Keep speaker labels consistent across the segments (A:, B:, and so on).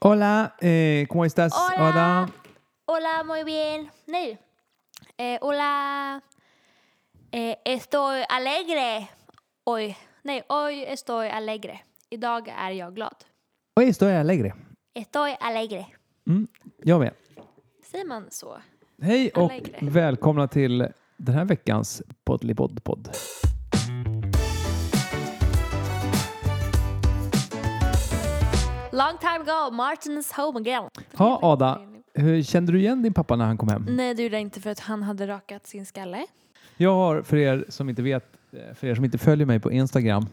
A: Hola, eh, ¿cómo estás?
B: Hola. Hola, muy bien. Nej. Eh, hola. Eh, estoy alegre. Oj. Nej, hoy estoy alegre. Idag är jag glad.
A: Hoy estoy alegre.
B: Estoy alegre.
A: Mm, jag med.
B: Säger man så?
A: Hej och
B: Alegre.
A: välkomna till den här veckans Poddelipodd-podd.
B: Long time ago, Martin's home again.
A: Ja, Ada. Hur, kände du igen din pappa när han kom hem?
B: Nej, det gjorde jag inte för att han hade rakat sin skalle.
A: Jag har, för er som inte vet, eh, för er som inte följer mig på Instagram,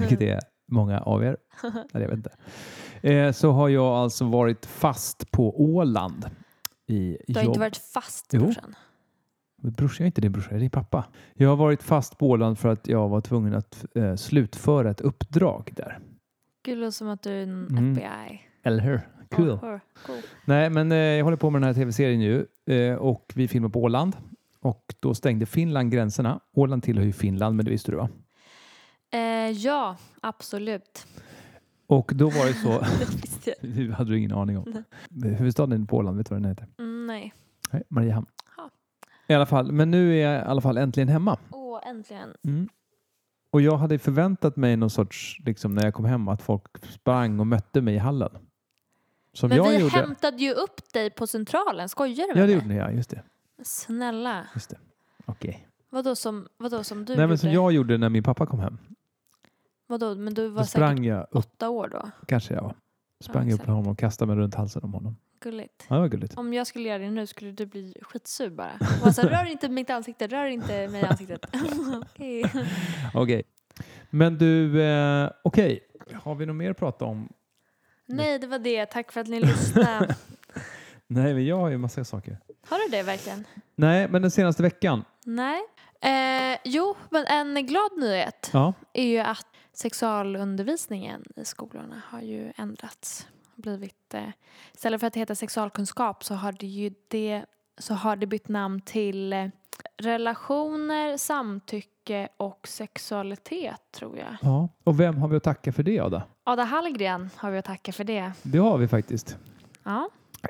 A: vilket är många av er, eller jag vet inte, eh, så har jag alltså varit fast på Åland i
B: Du har
A: jobb.
B: inte varit fast,
A: Jo.
B: brorsan.
A: Men Brorsa är inte din brorsa, det är din pappa. Jag har varit fast på Åland för att jag var tvungen att eh, slutföra ett uppdrag där.
B: Gud, det låter som att du är en
A: Mm.
B: FBI.
A: Eller hur? Cool.
B: Aha, cool.
A: Nej, men eh, jag håller på med den här tv-serien nu eh, och vi filmar på Åland. Och då stängde Finland gränserna. Åland tillhör ju Finland, men det visste du va?
B: Eh, ja, absolut.
A: Och då var det så,
B: Det visste jag.
A: det hade du ingen aning om. Huvudstaden på Åland, vet du vad den heter?
B: Mm, nej.
A: Nej, Mariehamn.
B: Ja.
A: I alla fall, men nu är jag i alla fall äntligen hemma.
B: Åh, äntligen.
A: Mm. Och jag hade förväntat mig någon sorts, liksom, när jag kom hem, att folk sprang och mötte mig i hallen. Som
B: men
A: jag
B: vi
A: gjorde.
B: hämtade ju upp dig på Centralen, skojar du
A: Ja,
B: med
A: det
B: mig?
A: gjorde ni, ja. Just det.
B: Snälla,
A: Just det. Okej.
B: vadå som, vadå som du
A: Nej, men
B: gjorde?
A: som jag gjorde när min pappa kom hem.
B: Vadå, men du var
A: Då
B: säkert
A: sprang jag upp,
B: åtta år då?
A: kanske jag var. Sprang upp
B: exakt.
A: på honom och kastade mig runt halsen om honom.
B: Gulligt.
A: Ja, det var gulligt.
B: Om jag skulle göra det nu skulle du bli skitsur bara. Och alltså, rör inte mitt ansikte, rör inte mig i ansiktet. Okej.
A: Okej. Men du, eh, okej. Har vi något mer att prata om?
B: Nej, det var det. Tack för att ni lyssnade.
A: Nej, men jag har ju massa saker.
B: Har du det verkligen?
A: Nej, men den senaste veckan.
B: Nej. Eh, jo, men en glad nyhet
A: Ja.
B: är ju att sexualundervisningen i skolorna har ju ändrats. Blivit, eh, istället för att heta sexualkunskap så har det ju det, så har det bytt namn till eh, relationer, samtycke och sexualitet tror jag.
A: ja. Och vem har vi att tacka för det, Ada?
B: Ada Hallgren har vi att tacka för det.
A: Det har vi faktiskt.
B: Ja,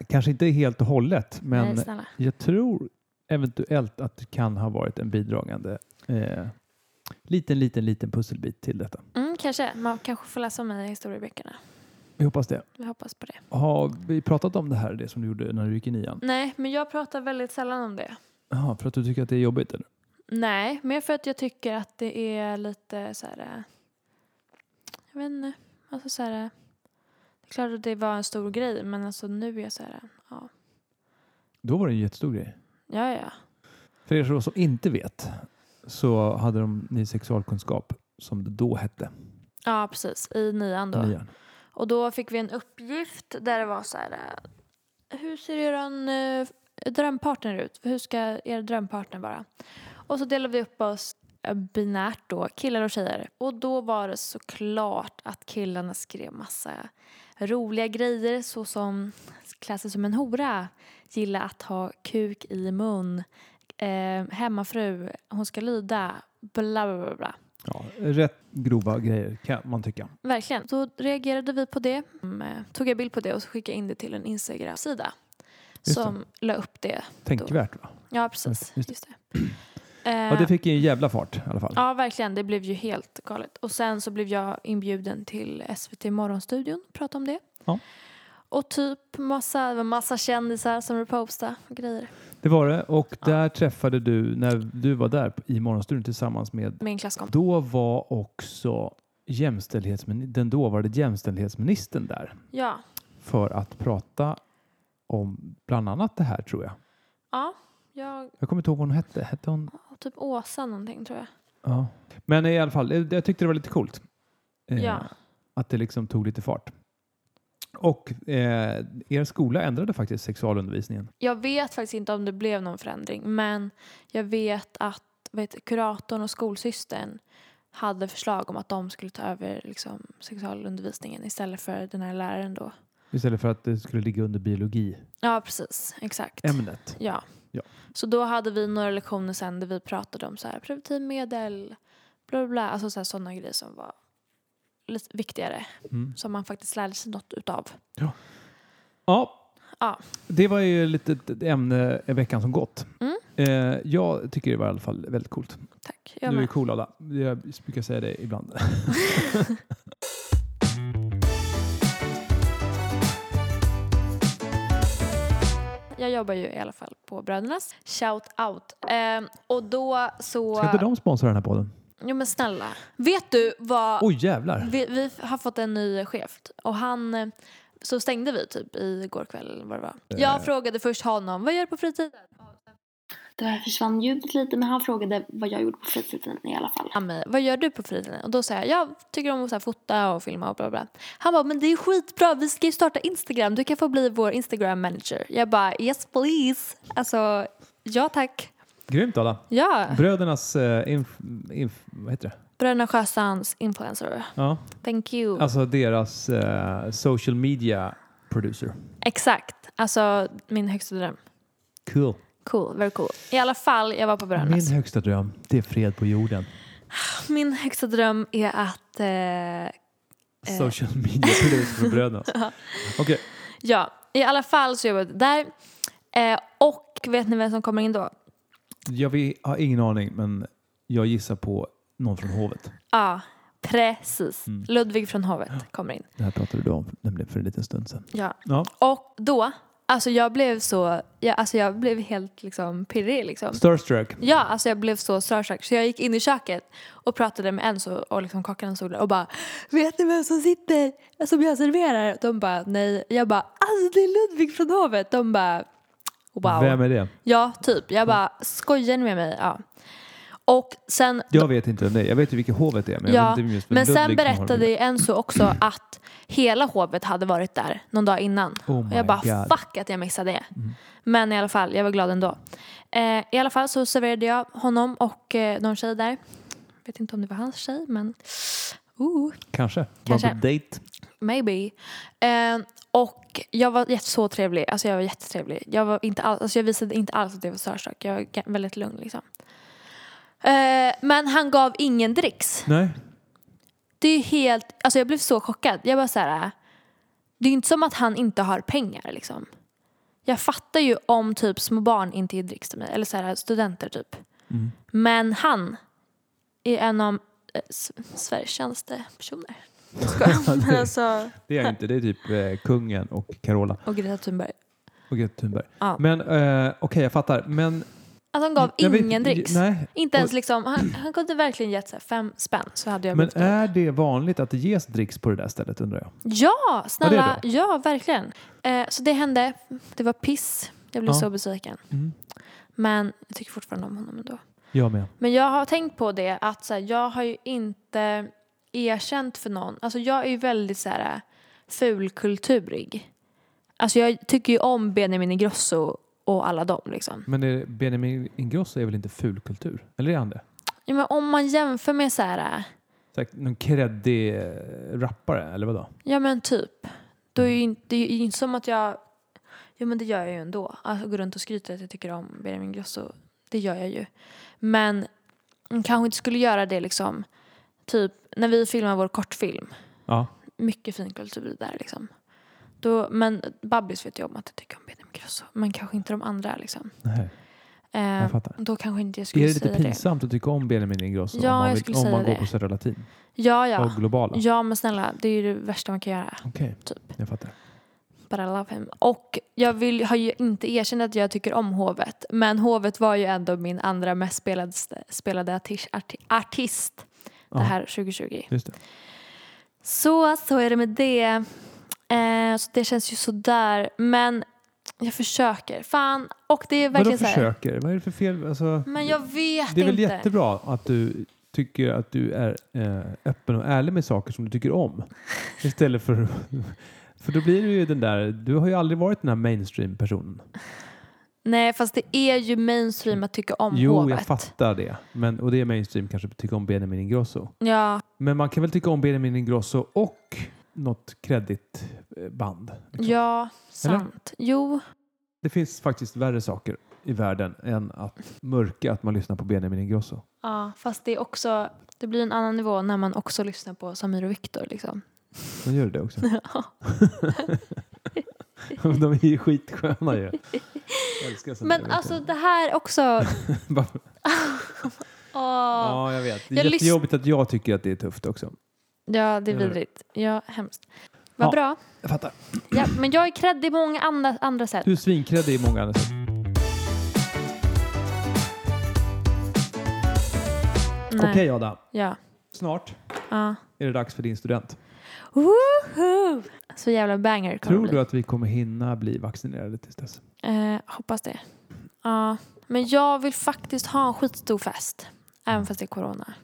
A: Kanske inte helt och hållet, men
B: nej, snälla.
A: jag tror eventuellt att det kan ha varit en bidragande eh, liten, liten, liten pusselbit till detta.
B: Mm, kanske. Man kanske får läsa om mig i historieböckerna.
A: Vi hoppas det.
B: Vi hoppas på det.
A: Har vi pratat om det här, det som du gjorde när du gick i nian?
B: Nej, men jag pratar väldigt sällan om det.
A: Jaha, för att du tycker att det är jobbigt? Eller?
B: Nej, mer för att jag tycker att det är lite så här... eh, Jag vet inte. Alltså så här... eh, Det är klart att det var en stor grej, men alltså nu är jag så här... eh, Ja,
A: Då var det en jättestor grej.
B: ja, ja.
A: För er som inte vet så hade de ny sexualkunskap som det då hette.
B: Ja, precis. I nian då.
A: Nian.
B: Och då fick vi en uppgift där det var så här... eh, Hur ser er eh, drömpartner ut? Hur ska er drömpartner vara? Och så delade vi upp oss eh, binärt då, killar och tjejer. Och då var det såklart att killarna skrev massa roliga grejer såsom klä sig som en hora, gilla att ha kuk i mun, eh, hemmafru, hon ska lyda, bla bla bla. bla.
A: Ja, rätt grova grejer kan man tycka.
B: Verkligen. Då reagerade vi på det. Mm, eh, Tog jag bild på det och så skickade jag in det till en Instagram-sida.
A: Just
B: Som la upp det.
A: Tänkvärt va?
B: Ja, precis.
A: Just
B: Just,
A: det.
B: det. Eh,
A: Ja, det fick ju en jävla fart i alla fall.
B: ja, verkligen. Det blev ju helt galet. Och sen så blev jag inbjuden till SVT Morgonstudion och pratade om det.
A: Ja.
B: Och typ massa, det var massa kändisar som repostade grejer.
A: Det var det. Och där träffade du, när du var där i Morgonstudion tillsammans med
B: Min klasskompis.
A: Då var också jämställdhetsmin- den dåvarande jämställdhetsministern där
B: Ja.
A: för att prata om bland annat det här tror jag.
B: Ja. Jag,
A: Jag kommer inte ihåg vad hon hette. hette hon?
B: typ Åsa någonting tror jag.
A: Ja. Men i alla fall, eh, jag tyckte det var lite coolt. eh,
B: Ja.
A: Att det liksom tog lite fart. Och eh, er skola ändrade faktiskt sexualundervisningen.
B: Jag vet faktiskt inte om det blev någon förändring men jag vet att vet, kuratorn och skolsystern hade förslag om att de skulle ta över liksom, sexualundervisningen istället för den här läraren då.
A: Istället för att det skulle ligga under biologiämnet.
B: Ja, precis. Exakt. Ja.
A: Ja.
B: Så då hade vi några lektioner sen där vi pratade om så här preventivmedel, bla bla, bla alltså så här, sådana grejer som var lite viktigare
A: Mm.
B: som man faktiskt lärde sig något utav.
A: Ja. Ja.
B: Ja.
A: Det var ju lite ett ämne i veckan som gått.
B: Mm.
A: Eh, jag tycker det var i alla fall väldigt coolt.
B: Tack. Jag
A: du är
B: med.
A: cool Ada. Jag brukar säga det ibland.
B: Jag jobbar ju i alla fall på Brödernas. Shout out. Ehm, och då så...
A: Ska inte de sponsra den här podden?
B: Jo men snälla. Vet du vad...
A: Oj jävlar!
B: Vi, vi har fått en ny chef och han... eh, Så stängde vi typ igår kväll eller vad det var. Jag frågade först honom, vad gör du på fritiden?
C: Där försvann ljudet lite men han frågade vad jag gjorde på fritiden i alla fall.
B: Han mig, vad gör du på fritiden? Och då sa jag, jag tycker om att så här, fota och filma och bla bla. Han bara, men det är skitbra, vi ska ju starta Instagram, du kan få bli vår Instagram manager. Jag bara, yes please. Alltså, ja tack.
A: Grymt Ada!
B: Ja,
A: Brödernas eh, inf, inf, vad heter det?
B: Bröderna Sjöstrands influencer.
A: Ja.
B: Thank you.
A: Alltså deras eh, social media producer.
B: Exakt. Alltså min högsta dröm.
A: Cool.
B: Cool, very cool. I alla fall, jag var på Brödernas.
A: Min högsta dröm, det är fred på jorden.
B: Min, högsta dröm är att... Eh,
A: Social media producer för Brödernas. Okej,
B: ja, i alla fall så jobbade jag där. Eh, och vet ni vem som kommer in då? Ja,
A: jag vill, har ingen aning men jag gissar på någon från hovet.
B: precis.
A: Mm.
B: Ludvig från Hovet kommer in.
A: Det här pratade du om nämligen för en liten stund sedan.
B: Ja.
A: Ja.
B: Och då, alltså jag blev så... Jag, alltså jag blev helt liksom pirrig liksom.
A: Starstruck.
B: Ja, alltså jag blev så starstruck så jag gick in i köket och pratade med en så, och liksom kockarna stod där och bara Vet ni vem som sitter? Som jag serverar? De bara nej. Jag bara alltså det är Ludvig från Hovet. De bara wow.
A: Vem är det?
B: Ja, typ. Jag bara skojar ni med mig? Ja. Och sen
A: Jag vet inte vem det är. Jag vet ju vilket hovet det är. Men, jag
B: Ja,
A: vet inte just vem
B: men sen
A: Ludvig som har Mm.
B: berättade ju Enzo också att hela hovet hade varit där någon dag innan.
A: Oh my
B: och jag bara
A: God. Mm.
B: fuck att jag missade det. Men i alla fall, jag var glad ändå. Eh, I alla fall så serverade jag honom och eh, någon tjej där. Vet inte om det var hans tjej men uh. ooh,
A: Kanske.
B: Kanske.
A: Var på dejt.
B: maybe. Eh, och jag var jätte- så trevlig, alltså jag var jättetrevlig. Jag, var inte alls, alltså jag visade inte alls att jag var starstruck, jag var ga- väldigt lugn liksom. Eh, men han gav ingen dricks.
A: Nej.
B: Det är ju helt, alltså jag blev så chockad. Jag bara så här, det är ju inte som att han inte har pengar liksom. Jag fattar ju om typ små barn inte ger dricks till mig, eller så här, studenter typ.
A: Mm.
B: Men han är en av eh, S- Sveriges kändaste personer. Jag skojar. Men alltså,
A: Det är jag inte. Det är typ eh, kungen och Carola
B: och Greta Thunberg.
A: och Greta Thunberg.
B: Ja.
A: Men eh, okej, jag fattar. Men,
B: Alltså han gav
A: jag vet-
B: ingen dricks.
A: Nej.
B: Inte ens liksom, han, han kunde verkligen gett så här, fem spänn så hade jag
A: Men
B: blivit glad.
A: är det vanligt att det ges dricks på det där stället undrar jag?
B: Ja,
A: Ja,
B: snälla.
A: det
B: Ja, verkligen. Eh, så det hände. Det var piss. Jag blev
A: Ja.
B: så besviken.
A: Mm.
B: Men jag tycker fortfarande om honom ändå.
A: Jag med.
B: Men jag har tänkt på det att så här, jag har ju inte erkänt för någon. Alltså jag är ju väldigt så här eh, fulkulturig. Alltså jag tycker ju om Benjamin Ingrosso och alla dem liksom.
A: Men är Benjamin Ingrosso är väl inte fulkultur? Eller är han det?
B: Ja, men om man jämför med så här, eh,
A: Så här, någon kreddig eh, rappare eller vadå?
B: ja men typ. Då är
A: Mm.
B: ju inte, det är ju inte som att jag, ja men det gör jag ju ändå. Alltså gå runt och skryta att jag tycker om Benjamin Ingrosso. Det gör jag ju. Men man kanske inte skulle göra det liksom, typ när vi filmar vår kortfilm.
A: Ja.
B: mycket fin kultur där liksom. Då, men Babbis vet jag om att jag tycker om Benjamin Ingrosso. Men kanske inte de andra liksom.
A: Nej.
B: Eh,
A: Jag fattar.
B: då kanske inte jag
A: Är
B: skulle
A: det lite
B: säga
A: pinsamt att tycka om Benjamin Ingrosso
B: Ja,
A: om man,
B: jag
A: vill,
B: skulle
A: om
B: säga
A: man går
B: det.
A: på Södra Latin?
B: det. Ja,
A: Och
B: ja.
A: globala?
B: Ja, men snälla. Det är ju det värsta man kan göra.
A: Okej,
B: Typ.
A: jag fattar.
B: Bara love him. Och jag vill, har ju inte erkänt att jag tycker om hovet. Men hovet var ju ändå min andra mest spelade, spelade artist, arti, artist
A: Ja.
B: det här 2020.
A: Just det.
B: Så, så är det med det. Eh, så det känns ju sådär. Men jag försöker. Fan. Och det är
A: Vadå
B: verkligen så här.
A: försöker? Vad är det för fel? Alltså,
B: Men jag vet
A: det är väl
B: inte.
A: jättebra att du tycker att du är eh, öppen och ärlig med saker som du tycker om. Istället för... För då blir du ju den där... Du har ju aldrig varit den här mainstream-personen.
B: Nej, fast det är ju mainstream att tycka om
A: Jo,
B: hovet.
A: jag fattar det. Men, och det är mainstream kanske att tycka om Benjamin Ingrosso.
B: Ja,
A: Men man kan väl tycka om Benjamin Ingrosso och något kreddigt eh, band.
B: ja sant. Jo,
A: Det finns faktiskt värre saker i världen än att mörka att man lyssnar på Benjamin Ingrosso.
B: ja, fast det är också... Det blir en annan nivå när man också lyssnar på Samir och Viktor. Liksom.
A: Man gör det också.
B: Ja.
A: De är ju skitsköna ju. Jag älskar sånt där,
B: Men
A: vet
B: alltså det här också...
A: du. Bara-
B: Åh.
A: Ja, jag vet. Det
B: Jag
A: är
B: lys-
A: jättejobbigt att jag tycker att det är tufft också.
B: Ja, det är
A: Eller hur?
B: vidrigt. Ja, hemskt. Vad
A: Ja.
B: bra.
A: Jag fattar.
B: Ja, men jag är kreddig på många andra, andra sätt.
A: Du är svinkreddig i många andra sätt.
B: Nej.
A: Okej, Ada.
B: Ja.
A: Snart
B: ja.
A: är det dags för din student.
B: Woohoo! Så jävla banger kommer
A: Tror
B: det bli.
A: du att vi kommer hinna bli vaccinerade tills dess?
B: Eh, hoppas det. Ja. Men jag vill faktiskt ha en skitstor fest. Även fast det är corona.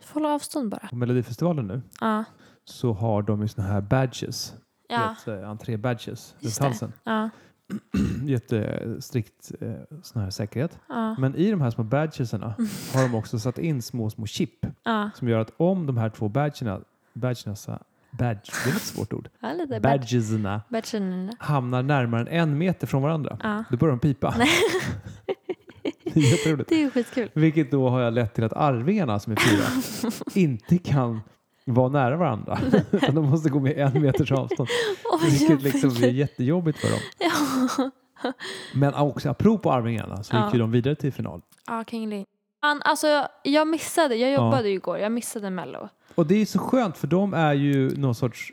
B: Vi får hålla avstånd bara.
A: På Melodifestivalen nu
B: Ja.
A: så har de ju såna här badges.
B: Ja.
A: Vet, eh, Entré-badges
B: Just
A: runt
B: det.
A: halsen.
B: Ja.
A: Jättestrikt eh, sån här säkerhet.
B: Ja.
A: Men i de här små badgesarna har de också satt in små, små chip
B: Ja.
A: som gör att om de här två badgerna, badgerna, badge, det är ett svårt ord,
B: ja lite bad.
A: badgesarna
B: Badgen.
A: hamnar närmare än en meter från varandra,
B: Ja.
A: då börjar de pipa. det är jätteroligt.
B: Det är ju skitkul.
A: Vilket då har lett till att arvingarna som är fyra inte kan vara nära varandra. Utan de måste gå med en meters avstånd.
B: Åh, vad
A: Vilket
B: jobbigt.
A: liksom blir jättejobbigt för dem. Men också apropå Arvingarna så gick
B: Ja.
A: ju de vidare till final.
B: Ja, King Ling. Fan, alltså jag, jag missade. Jag jobbade ju igår. Jag missade Mello.
A: Och det är så skönt för de är ju någon sorts...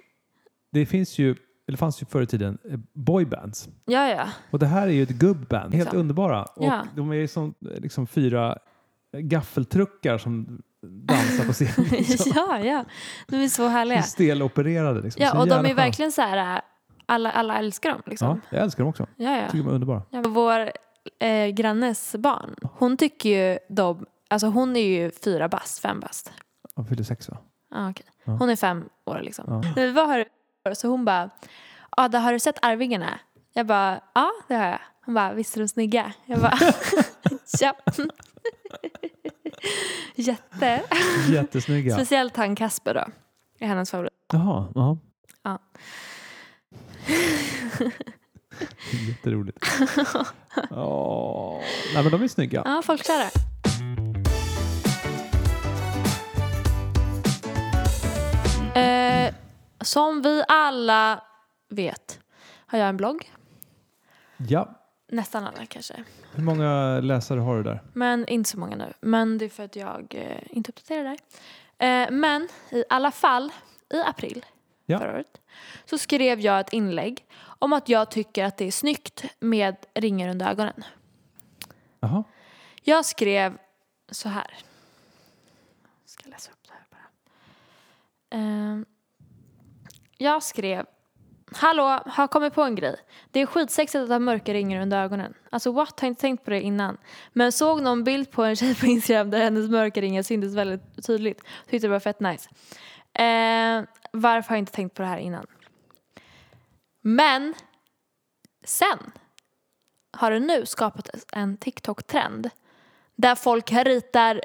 A: Det finns ju, eller fanns ju förr i tiden, eh, boybands.
B: Ja, ja.
A: Och det här är ju ett gubbband. Helt
B: Exakt.
A: underbara. Och
B: Ja.
A: de är ju som eh, liksom fyra eh, gaffeltruckar som dansar på scenen. Så
B: ja, ja. De är så härliga.
A: Stelopererade liksom. Så
B: Ja, och de
A: jävla
B: är
A: skönt.
B: verkligen så här... äh, Alla, alla älskar dem
A: Ja,
B: liksom.
A: jag älskar dem också.
B: Ja, ja.
A: Jag tycker de är underbara.
B: ja. Vår eh, grannes barn, hon tycker ju de... Alltså hon är ju fyra bast, fem bast.
A: De fyller sex va?
B: Ja, Ah, okej.
A: Ja.
B: Hon är fem år liksom.
A: Ja.
B: När vi var här så hon bara, Ada har du sett Arvingarna? Jag bara, ja det har jag. Hon bara, visst är de snygga? Jag bara, ja. Jätte.
A: Jättesnygga.
B: Speciellt han Kasper då. Är hennes favorit.
A: Jaha, jaha.
B: Ja.
A: Jätteroligt. Åh, Nej men de är snygga.
B: Ja, folkkära. Eh, som vi alla vet har jag en blogg.
A: Ja.
B: Nästan alla kanske.
A: Hur många läsare har du där?
B: Men inte så många nu. Men det är för att jag eh, inte uppdaterar där. Eh, men i alla fall, i april
A: Ja.
B: förra året så skrev jag ett inlägg om att jag tycker att det är snyggt med ringar under ögonen.
A: Jaha.
B: Jag skrev så här. Jag ska läsa upp det här bara. Ehm, jag skrev Hallå, har kommit på en grej. Det är skitsexigt att ha mörka ringar under ögonen. Alltså what, har inte tänkt på det innan. Men såg någon bild på en tjej på Instagram där hennes mörka ringar syntes väldigt tydligt. Tyckte det var fett nice. Ehm, varför har jag inte tänkt på det här innan? Men sen har det nu skapat en TikTok-trend där folk här ritar,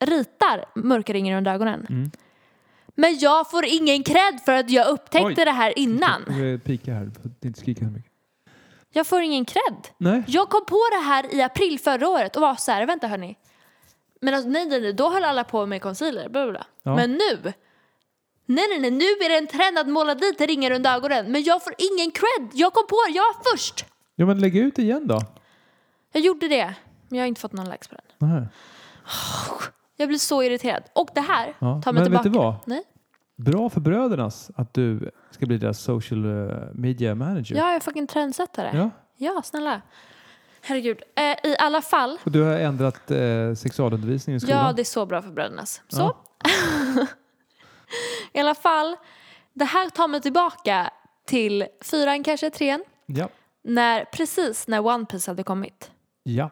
B: ritar mörka ringar under ögonen.
A: Mm.
B: Men jag får ingen cred för att jag upptäckte
A: Oj.
B: det här innan.
A: Jag pika här, för att inte skrika så mycket.
B: Jag får ingen cred.
A: Nej.
B: Jag kom på det här i april förra året och var så här, vänta hörni. Men alltså, nej, nej, nej, då höll alla på med concealer, bla, bla, bla.
A: Ja.
B: Men nu, nej, nej, nej, nu är det en trend att måla dit ringar under ögonen. Men jag får ingen cred. Jag kom på det, jag var först.
A: Ja men lägg ut igen då.
B: Jag gjorde det, men jag har inte fått någon likes på den.
A: Nej.
B: Jag blir så irriterad. Och det här
A: Ja,
B: tar mig
A: men vet
B: tillbaka.
A: du vad?
B: Nej.
A: Bra för brödernas att du ska bli deras social eh, media manager.
B: Ja, jag är fucking trendsättare. Ja,
A: Ja.
B: snälla. Herregud. Eh, I alla fall.
A: Och du har ändrat eh, sexualundervisningen i skolan.
B: Ja, det är så bra för brödernas. Så.
A: Ja.
B: I alla fall, det här tar mig tillbaka till fyran, kanske trean.
A: ja.
B: När, precis när One Piece hade kommit.
A: Ja.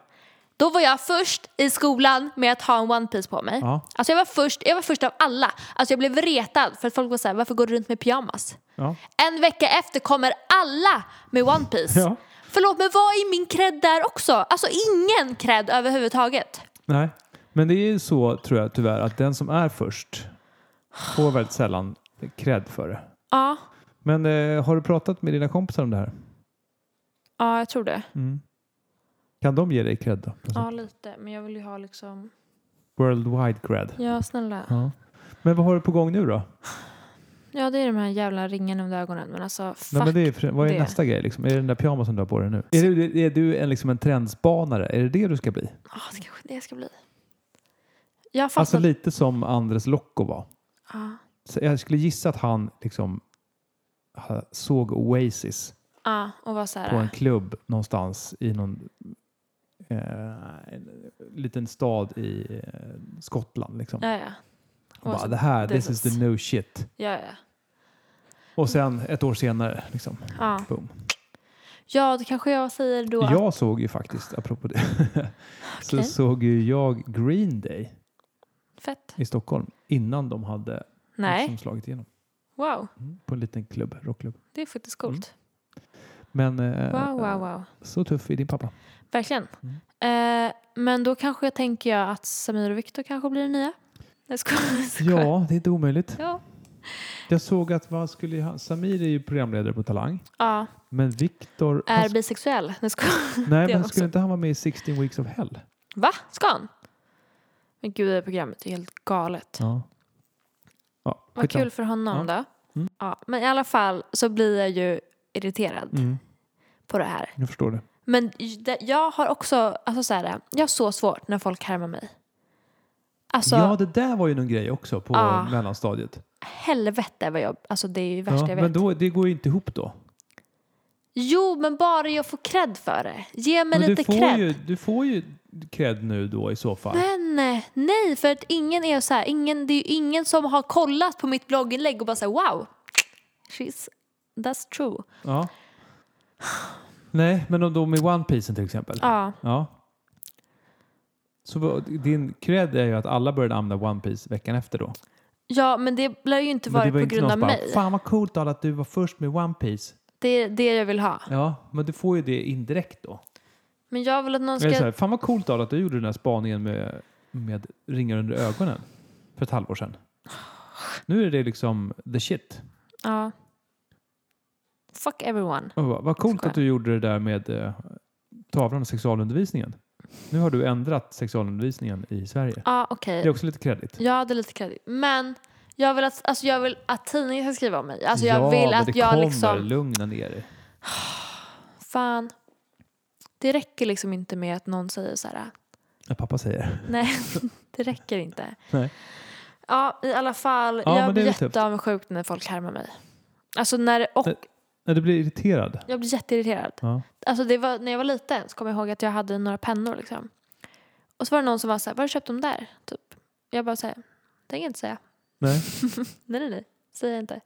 B: Då var jag först i skolan med att ha en One Piece på mig.
A: Ja.
B: Alltså jag var, först, jag var först av alla. Alltså jag blev retad för att folk var såhär, varför går du runt med pyjamas?
A: Ja.
B: En vecka efter kommer alla med One Piece.
A: Ja.
B: Förlåt, men vad är min cred där också? Alltså ingen cred överhuvudtaget.
A: Nej, men det är ju så tror jag tyvärr att den som är först får väldigt sällan cred för det.
B: Ja,
A: Men eh, har du pratat med dina kompisar om det här?
B: ja jag tror det.
A: Kan de ge dig cred då?
B: Ja, lite. Men jag vill ju ha liksom...
A: Worldwide cred.
B: Ja, snälla.
A: Ja. Men vad har du på gång nu då?
B: Ja, det är de här jävla ringarna under ögonen. Men alltså, fuck.
A: Nej, men det är, för- vad är
B: det.
A: nästa grej? Liksom? Är det den där pyjamasen du har på dig nu? Är du, är du en, liksom en trendspanare? Är det det du ska bli?
B: Ah, det kanske det ska bli. Jag fattar.
A: Alltså lite som Andres Lokko var.
B: Ja.
A: Så jag skulle gissa att han liksom ha- såg Oasis
B: Ja, och var så
A: på en
B: här.
A: klubb någonstans i någon eh, en liten stad i eh, Skottland. Liksom.
B: Ja, ja.
A: och bara,
B: så-
A: det här,
B: this
A: this is
B: is-
A: the new shit.
B: Ja, ja.
A: Och sen ett år senare, liksom,
B: Ja,
A: boom.
B: ja då kanske jag säger då. att-
A: Jag såg ju faktiskt, apropå det, så
B: Okej.
A: såg ju jag Green Day
B: Fett.
A: i Stockholm innan de hade
B: Nej.
A: liksom slagit igenom.
B: Wow,
A: Mm, På en liten klubb, rockklubb.
B: det är faktiskt coolt.
A: Men eh,
B: Wow, wow, wow.
A: så tuff är din pappa.
B: Verkligen.
A: Mm.
B: Eh, men då kanske jag tänker jag att Samir och Viktor kanske blir nya. Jag skojar. jag skojar.
A: Ja, det är inte omöjligt.
B: Ja.
A: Jag såg att vad skulle, han- Samir är ju programledare på Talang,
B: ja.
A: men Viktor... han
B: Är
A: sk-
B: bisexuell. Jag skojar.
A: nej,
B: det
A: men
B: också.
A: skulle inte han vara med i 16 Weeks of Hell?
B: Va? Ska han? Men gud, det här programmet är helt galet.
A: Ja. ja
B: Vad
A: skitsamma.
B: kul för honom då.
A: Mm.
B: Ja, men i alla fall så blir jag ju irriterad
A: Mm,
B: på det här.
A: jag förstår det.
B: Men j- det- jag har också, alltså så här, jag har så svårt när folk härmar mig. Alltså
A: ja, det där var ju någon grej också på
B: Ah.
A: mellanstadiet.
B: helvete vad jag, alltså det är ju det värsta
A: Ja,
B: jag
A: men
B: vet.
A: då, det går ju inte ihop då.
B: Jo, men bara jag får cred för det. Ge mig
A: men
B: lite
A: du får,
B: cred.
A: ju, du får ju cred nu då i så fall.
B: Men eh, nej, för att ingen är så här, ingen, det är ju ingen som har kollat på mitt blogginlägg och bara säger wow, she's, that's true.
A: Ja. Nej, men om de i One Piece till exempel.
B: Ja,
A: Ja. Så vad- din cred är ju att alla började använda One Piece veckan efter då.
B: ja men det lär ju inte vara
A: det
B: på
A: inte
B: grund av
A: någon som
B: mig.
A: bara, Fan vad coolt Al, att du var först med One Piece.
B: Det är det jag vill ha.
A: Ja, men du får ju det indirekt då.
B: Men jag vill att någon
A: Eller så
B: ska...
A: här, Fan vad coolt Al, att du gjorde den här spaningen med, med ringar under ögonen för ett halvår sedan. Nu är det liksom the shit.
B: Ja. Fuck everyone.
A: Och bara, Vad coolt
B: Skoja.
A: att du gjorde det där med eh, tavlan och sexualundervisningen. Nu har du ändrat sexualundervisningen i Sverige.
B: Ja, okej.
A: Det är också lite kredit.
B: Jag hade lite kredit. Men jag vill att, alltså jag vill att tidningen ska skriva om mig. Alltså jag
A: ja,
B: vill
A: men
B: att
A: det
B: jag
A: kommer.
B: liksom...
A: Lugna ner dig.
B: Fan. Det räcker liksom inte med att någon säger så här. äh.
A: Ja, pappa säger.
B: Nej, det räcker inte.
A: Nej.
B: Ja, i alla fall.
A: Ja, men
B: jag
A: det
B: blir
A: är väl tufft.
B: jätteavundsjuk när folk härmar mig. Alltså när, och
A: Men- Nej, du blir irriterad.
B: jag blir jätteirriterad.
A: Ja.
B: Alltså det var, när jag var liten så kommer jag ihåg att jag hade några pennor liksom. Och så var det någon som var så här, var har du köpt dem där? Typ. Jag bara så här, tänker inte säga.
A: Nej.
B: Nej, nej, nej. Säger inte.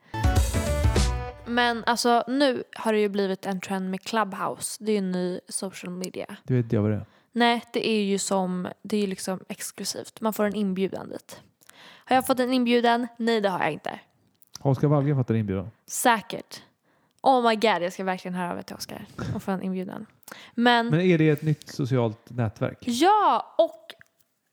B: Men alltså nu har det ju blivit en trend med Clubhouse. Det är ju en ny social media.
A: Du vet jag vad det är.
B: Nej, det är ju som, det är ju liksom exklusivt. Man får en inbjudan dit. Har jag fått en inbjudan? Nej, det har jag inte.
A: Oskar Wallgren fattar inbjudan.
B: Mm. Säkert. Oh my god, jag ska verkligen höra av mig till Oscar och få en inbjudan. Men,
A: Men är det ett nytt socialt nätverk?
B: ja, och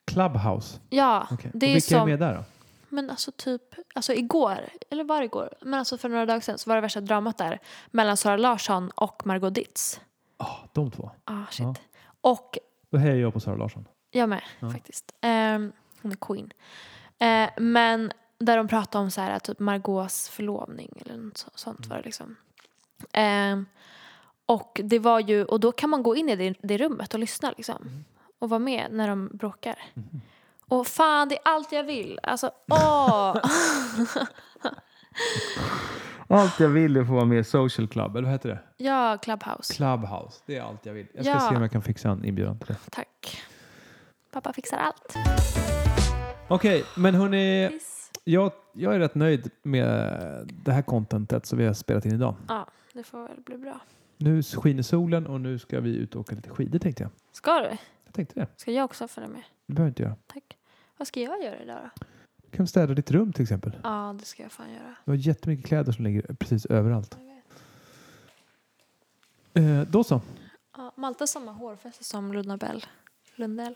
A: Clubhouse?
B: ja.
A: Okej.
B: Det
A: Och
B: är ju
A: vilka är
B: som,
A: med där då?
B: Men alltså typ, alltså igår, eller var det igår? Men alltså för några dagar sedan så var det värsta dramat där mellan Sara Larsson och Margot Ditz.
A: Ah, de två.
B: Ah shit.
A: Ja.
B: Och
A: Då hejar jag på Sara Larsson.
B: jag med
A: Ja.
B: faktiskt. Ehm, hon är queen. Eh, men där de pratade om så här typ Margots förlovning eller något så, sånt
A: Mm.
B: var det liksom. Ehm, och det var ju, och då kan man gå in i det, det rummet och lyssna liksom.
A: Mm.
B: Och vara med när de bråkar. Och fan, det är allt jag vill. Alltså, åh!
A: Allt jag vill är att få vara med i Social Club, eller vad heter det?
B: ja, Clubhouse.
A: Clubhouse, det är allt jag vill. Jag ska
B: Ja.
A: se om jag kan fixa en inbjudan till det.
B: Tack. Pappa fixar allt.
A: Okej, men hörni, jag, jag är rätt nöjd med det här contentet som vi har spelat in idag.
B: Ja, det får väl bli bra.
A: Nu skiner solen och nu ska vi ut och åka lite skidor tänkte jag.
B: Ska du?
A: Jag tänkte det.
B: Ska jag också följa med?
A: Det behöver jag inte göra.
B: Tack. Vad ska jag göra idag då?
A: Du kan städa ditt rum till exempel.
B: Ja, det ska jag fan göra.
A: Du har jättemycket kläder som ligger precis överallt.
B: Jag vet.
A: Eh, då så.
B: Ja, Malte har samma hårfäste som Luna Bell. Lundell.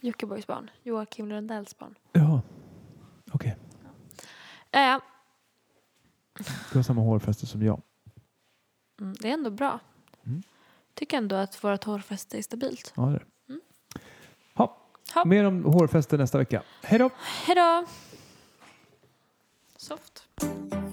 B: Jockibois barn. Joakim Lundells barn.
A: Ja. Okej,
B: Äh,
A: du har samma hårfäste som jag.
B: mm, det är ändå bra.
A: Mm.
B: Tycker ändå att vårt hårfäste är stabilt.
A: Ja, det är. det. Ha.
B: Mm. Ha.
A: Mer om hårfäste nästa vecka. Hej då!
B: Hej då! Soft.
A: Hej.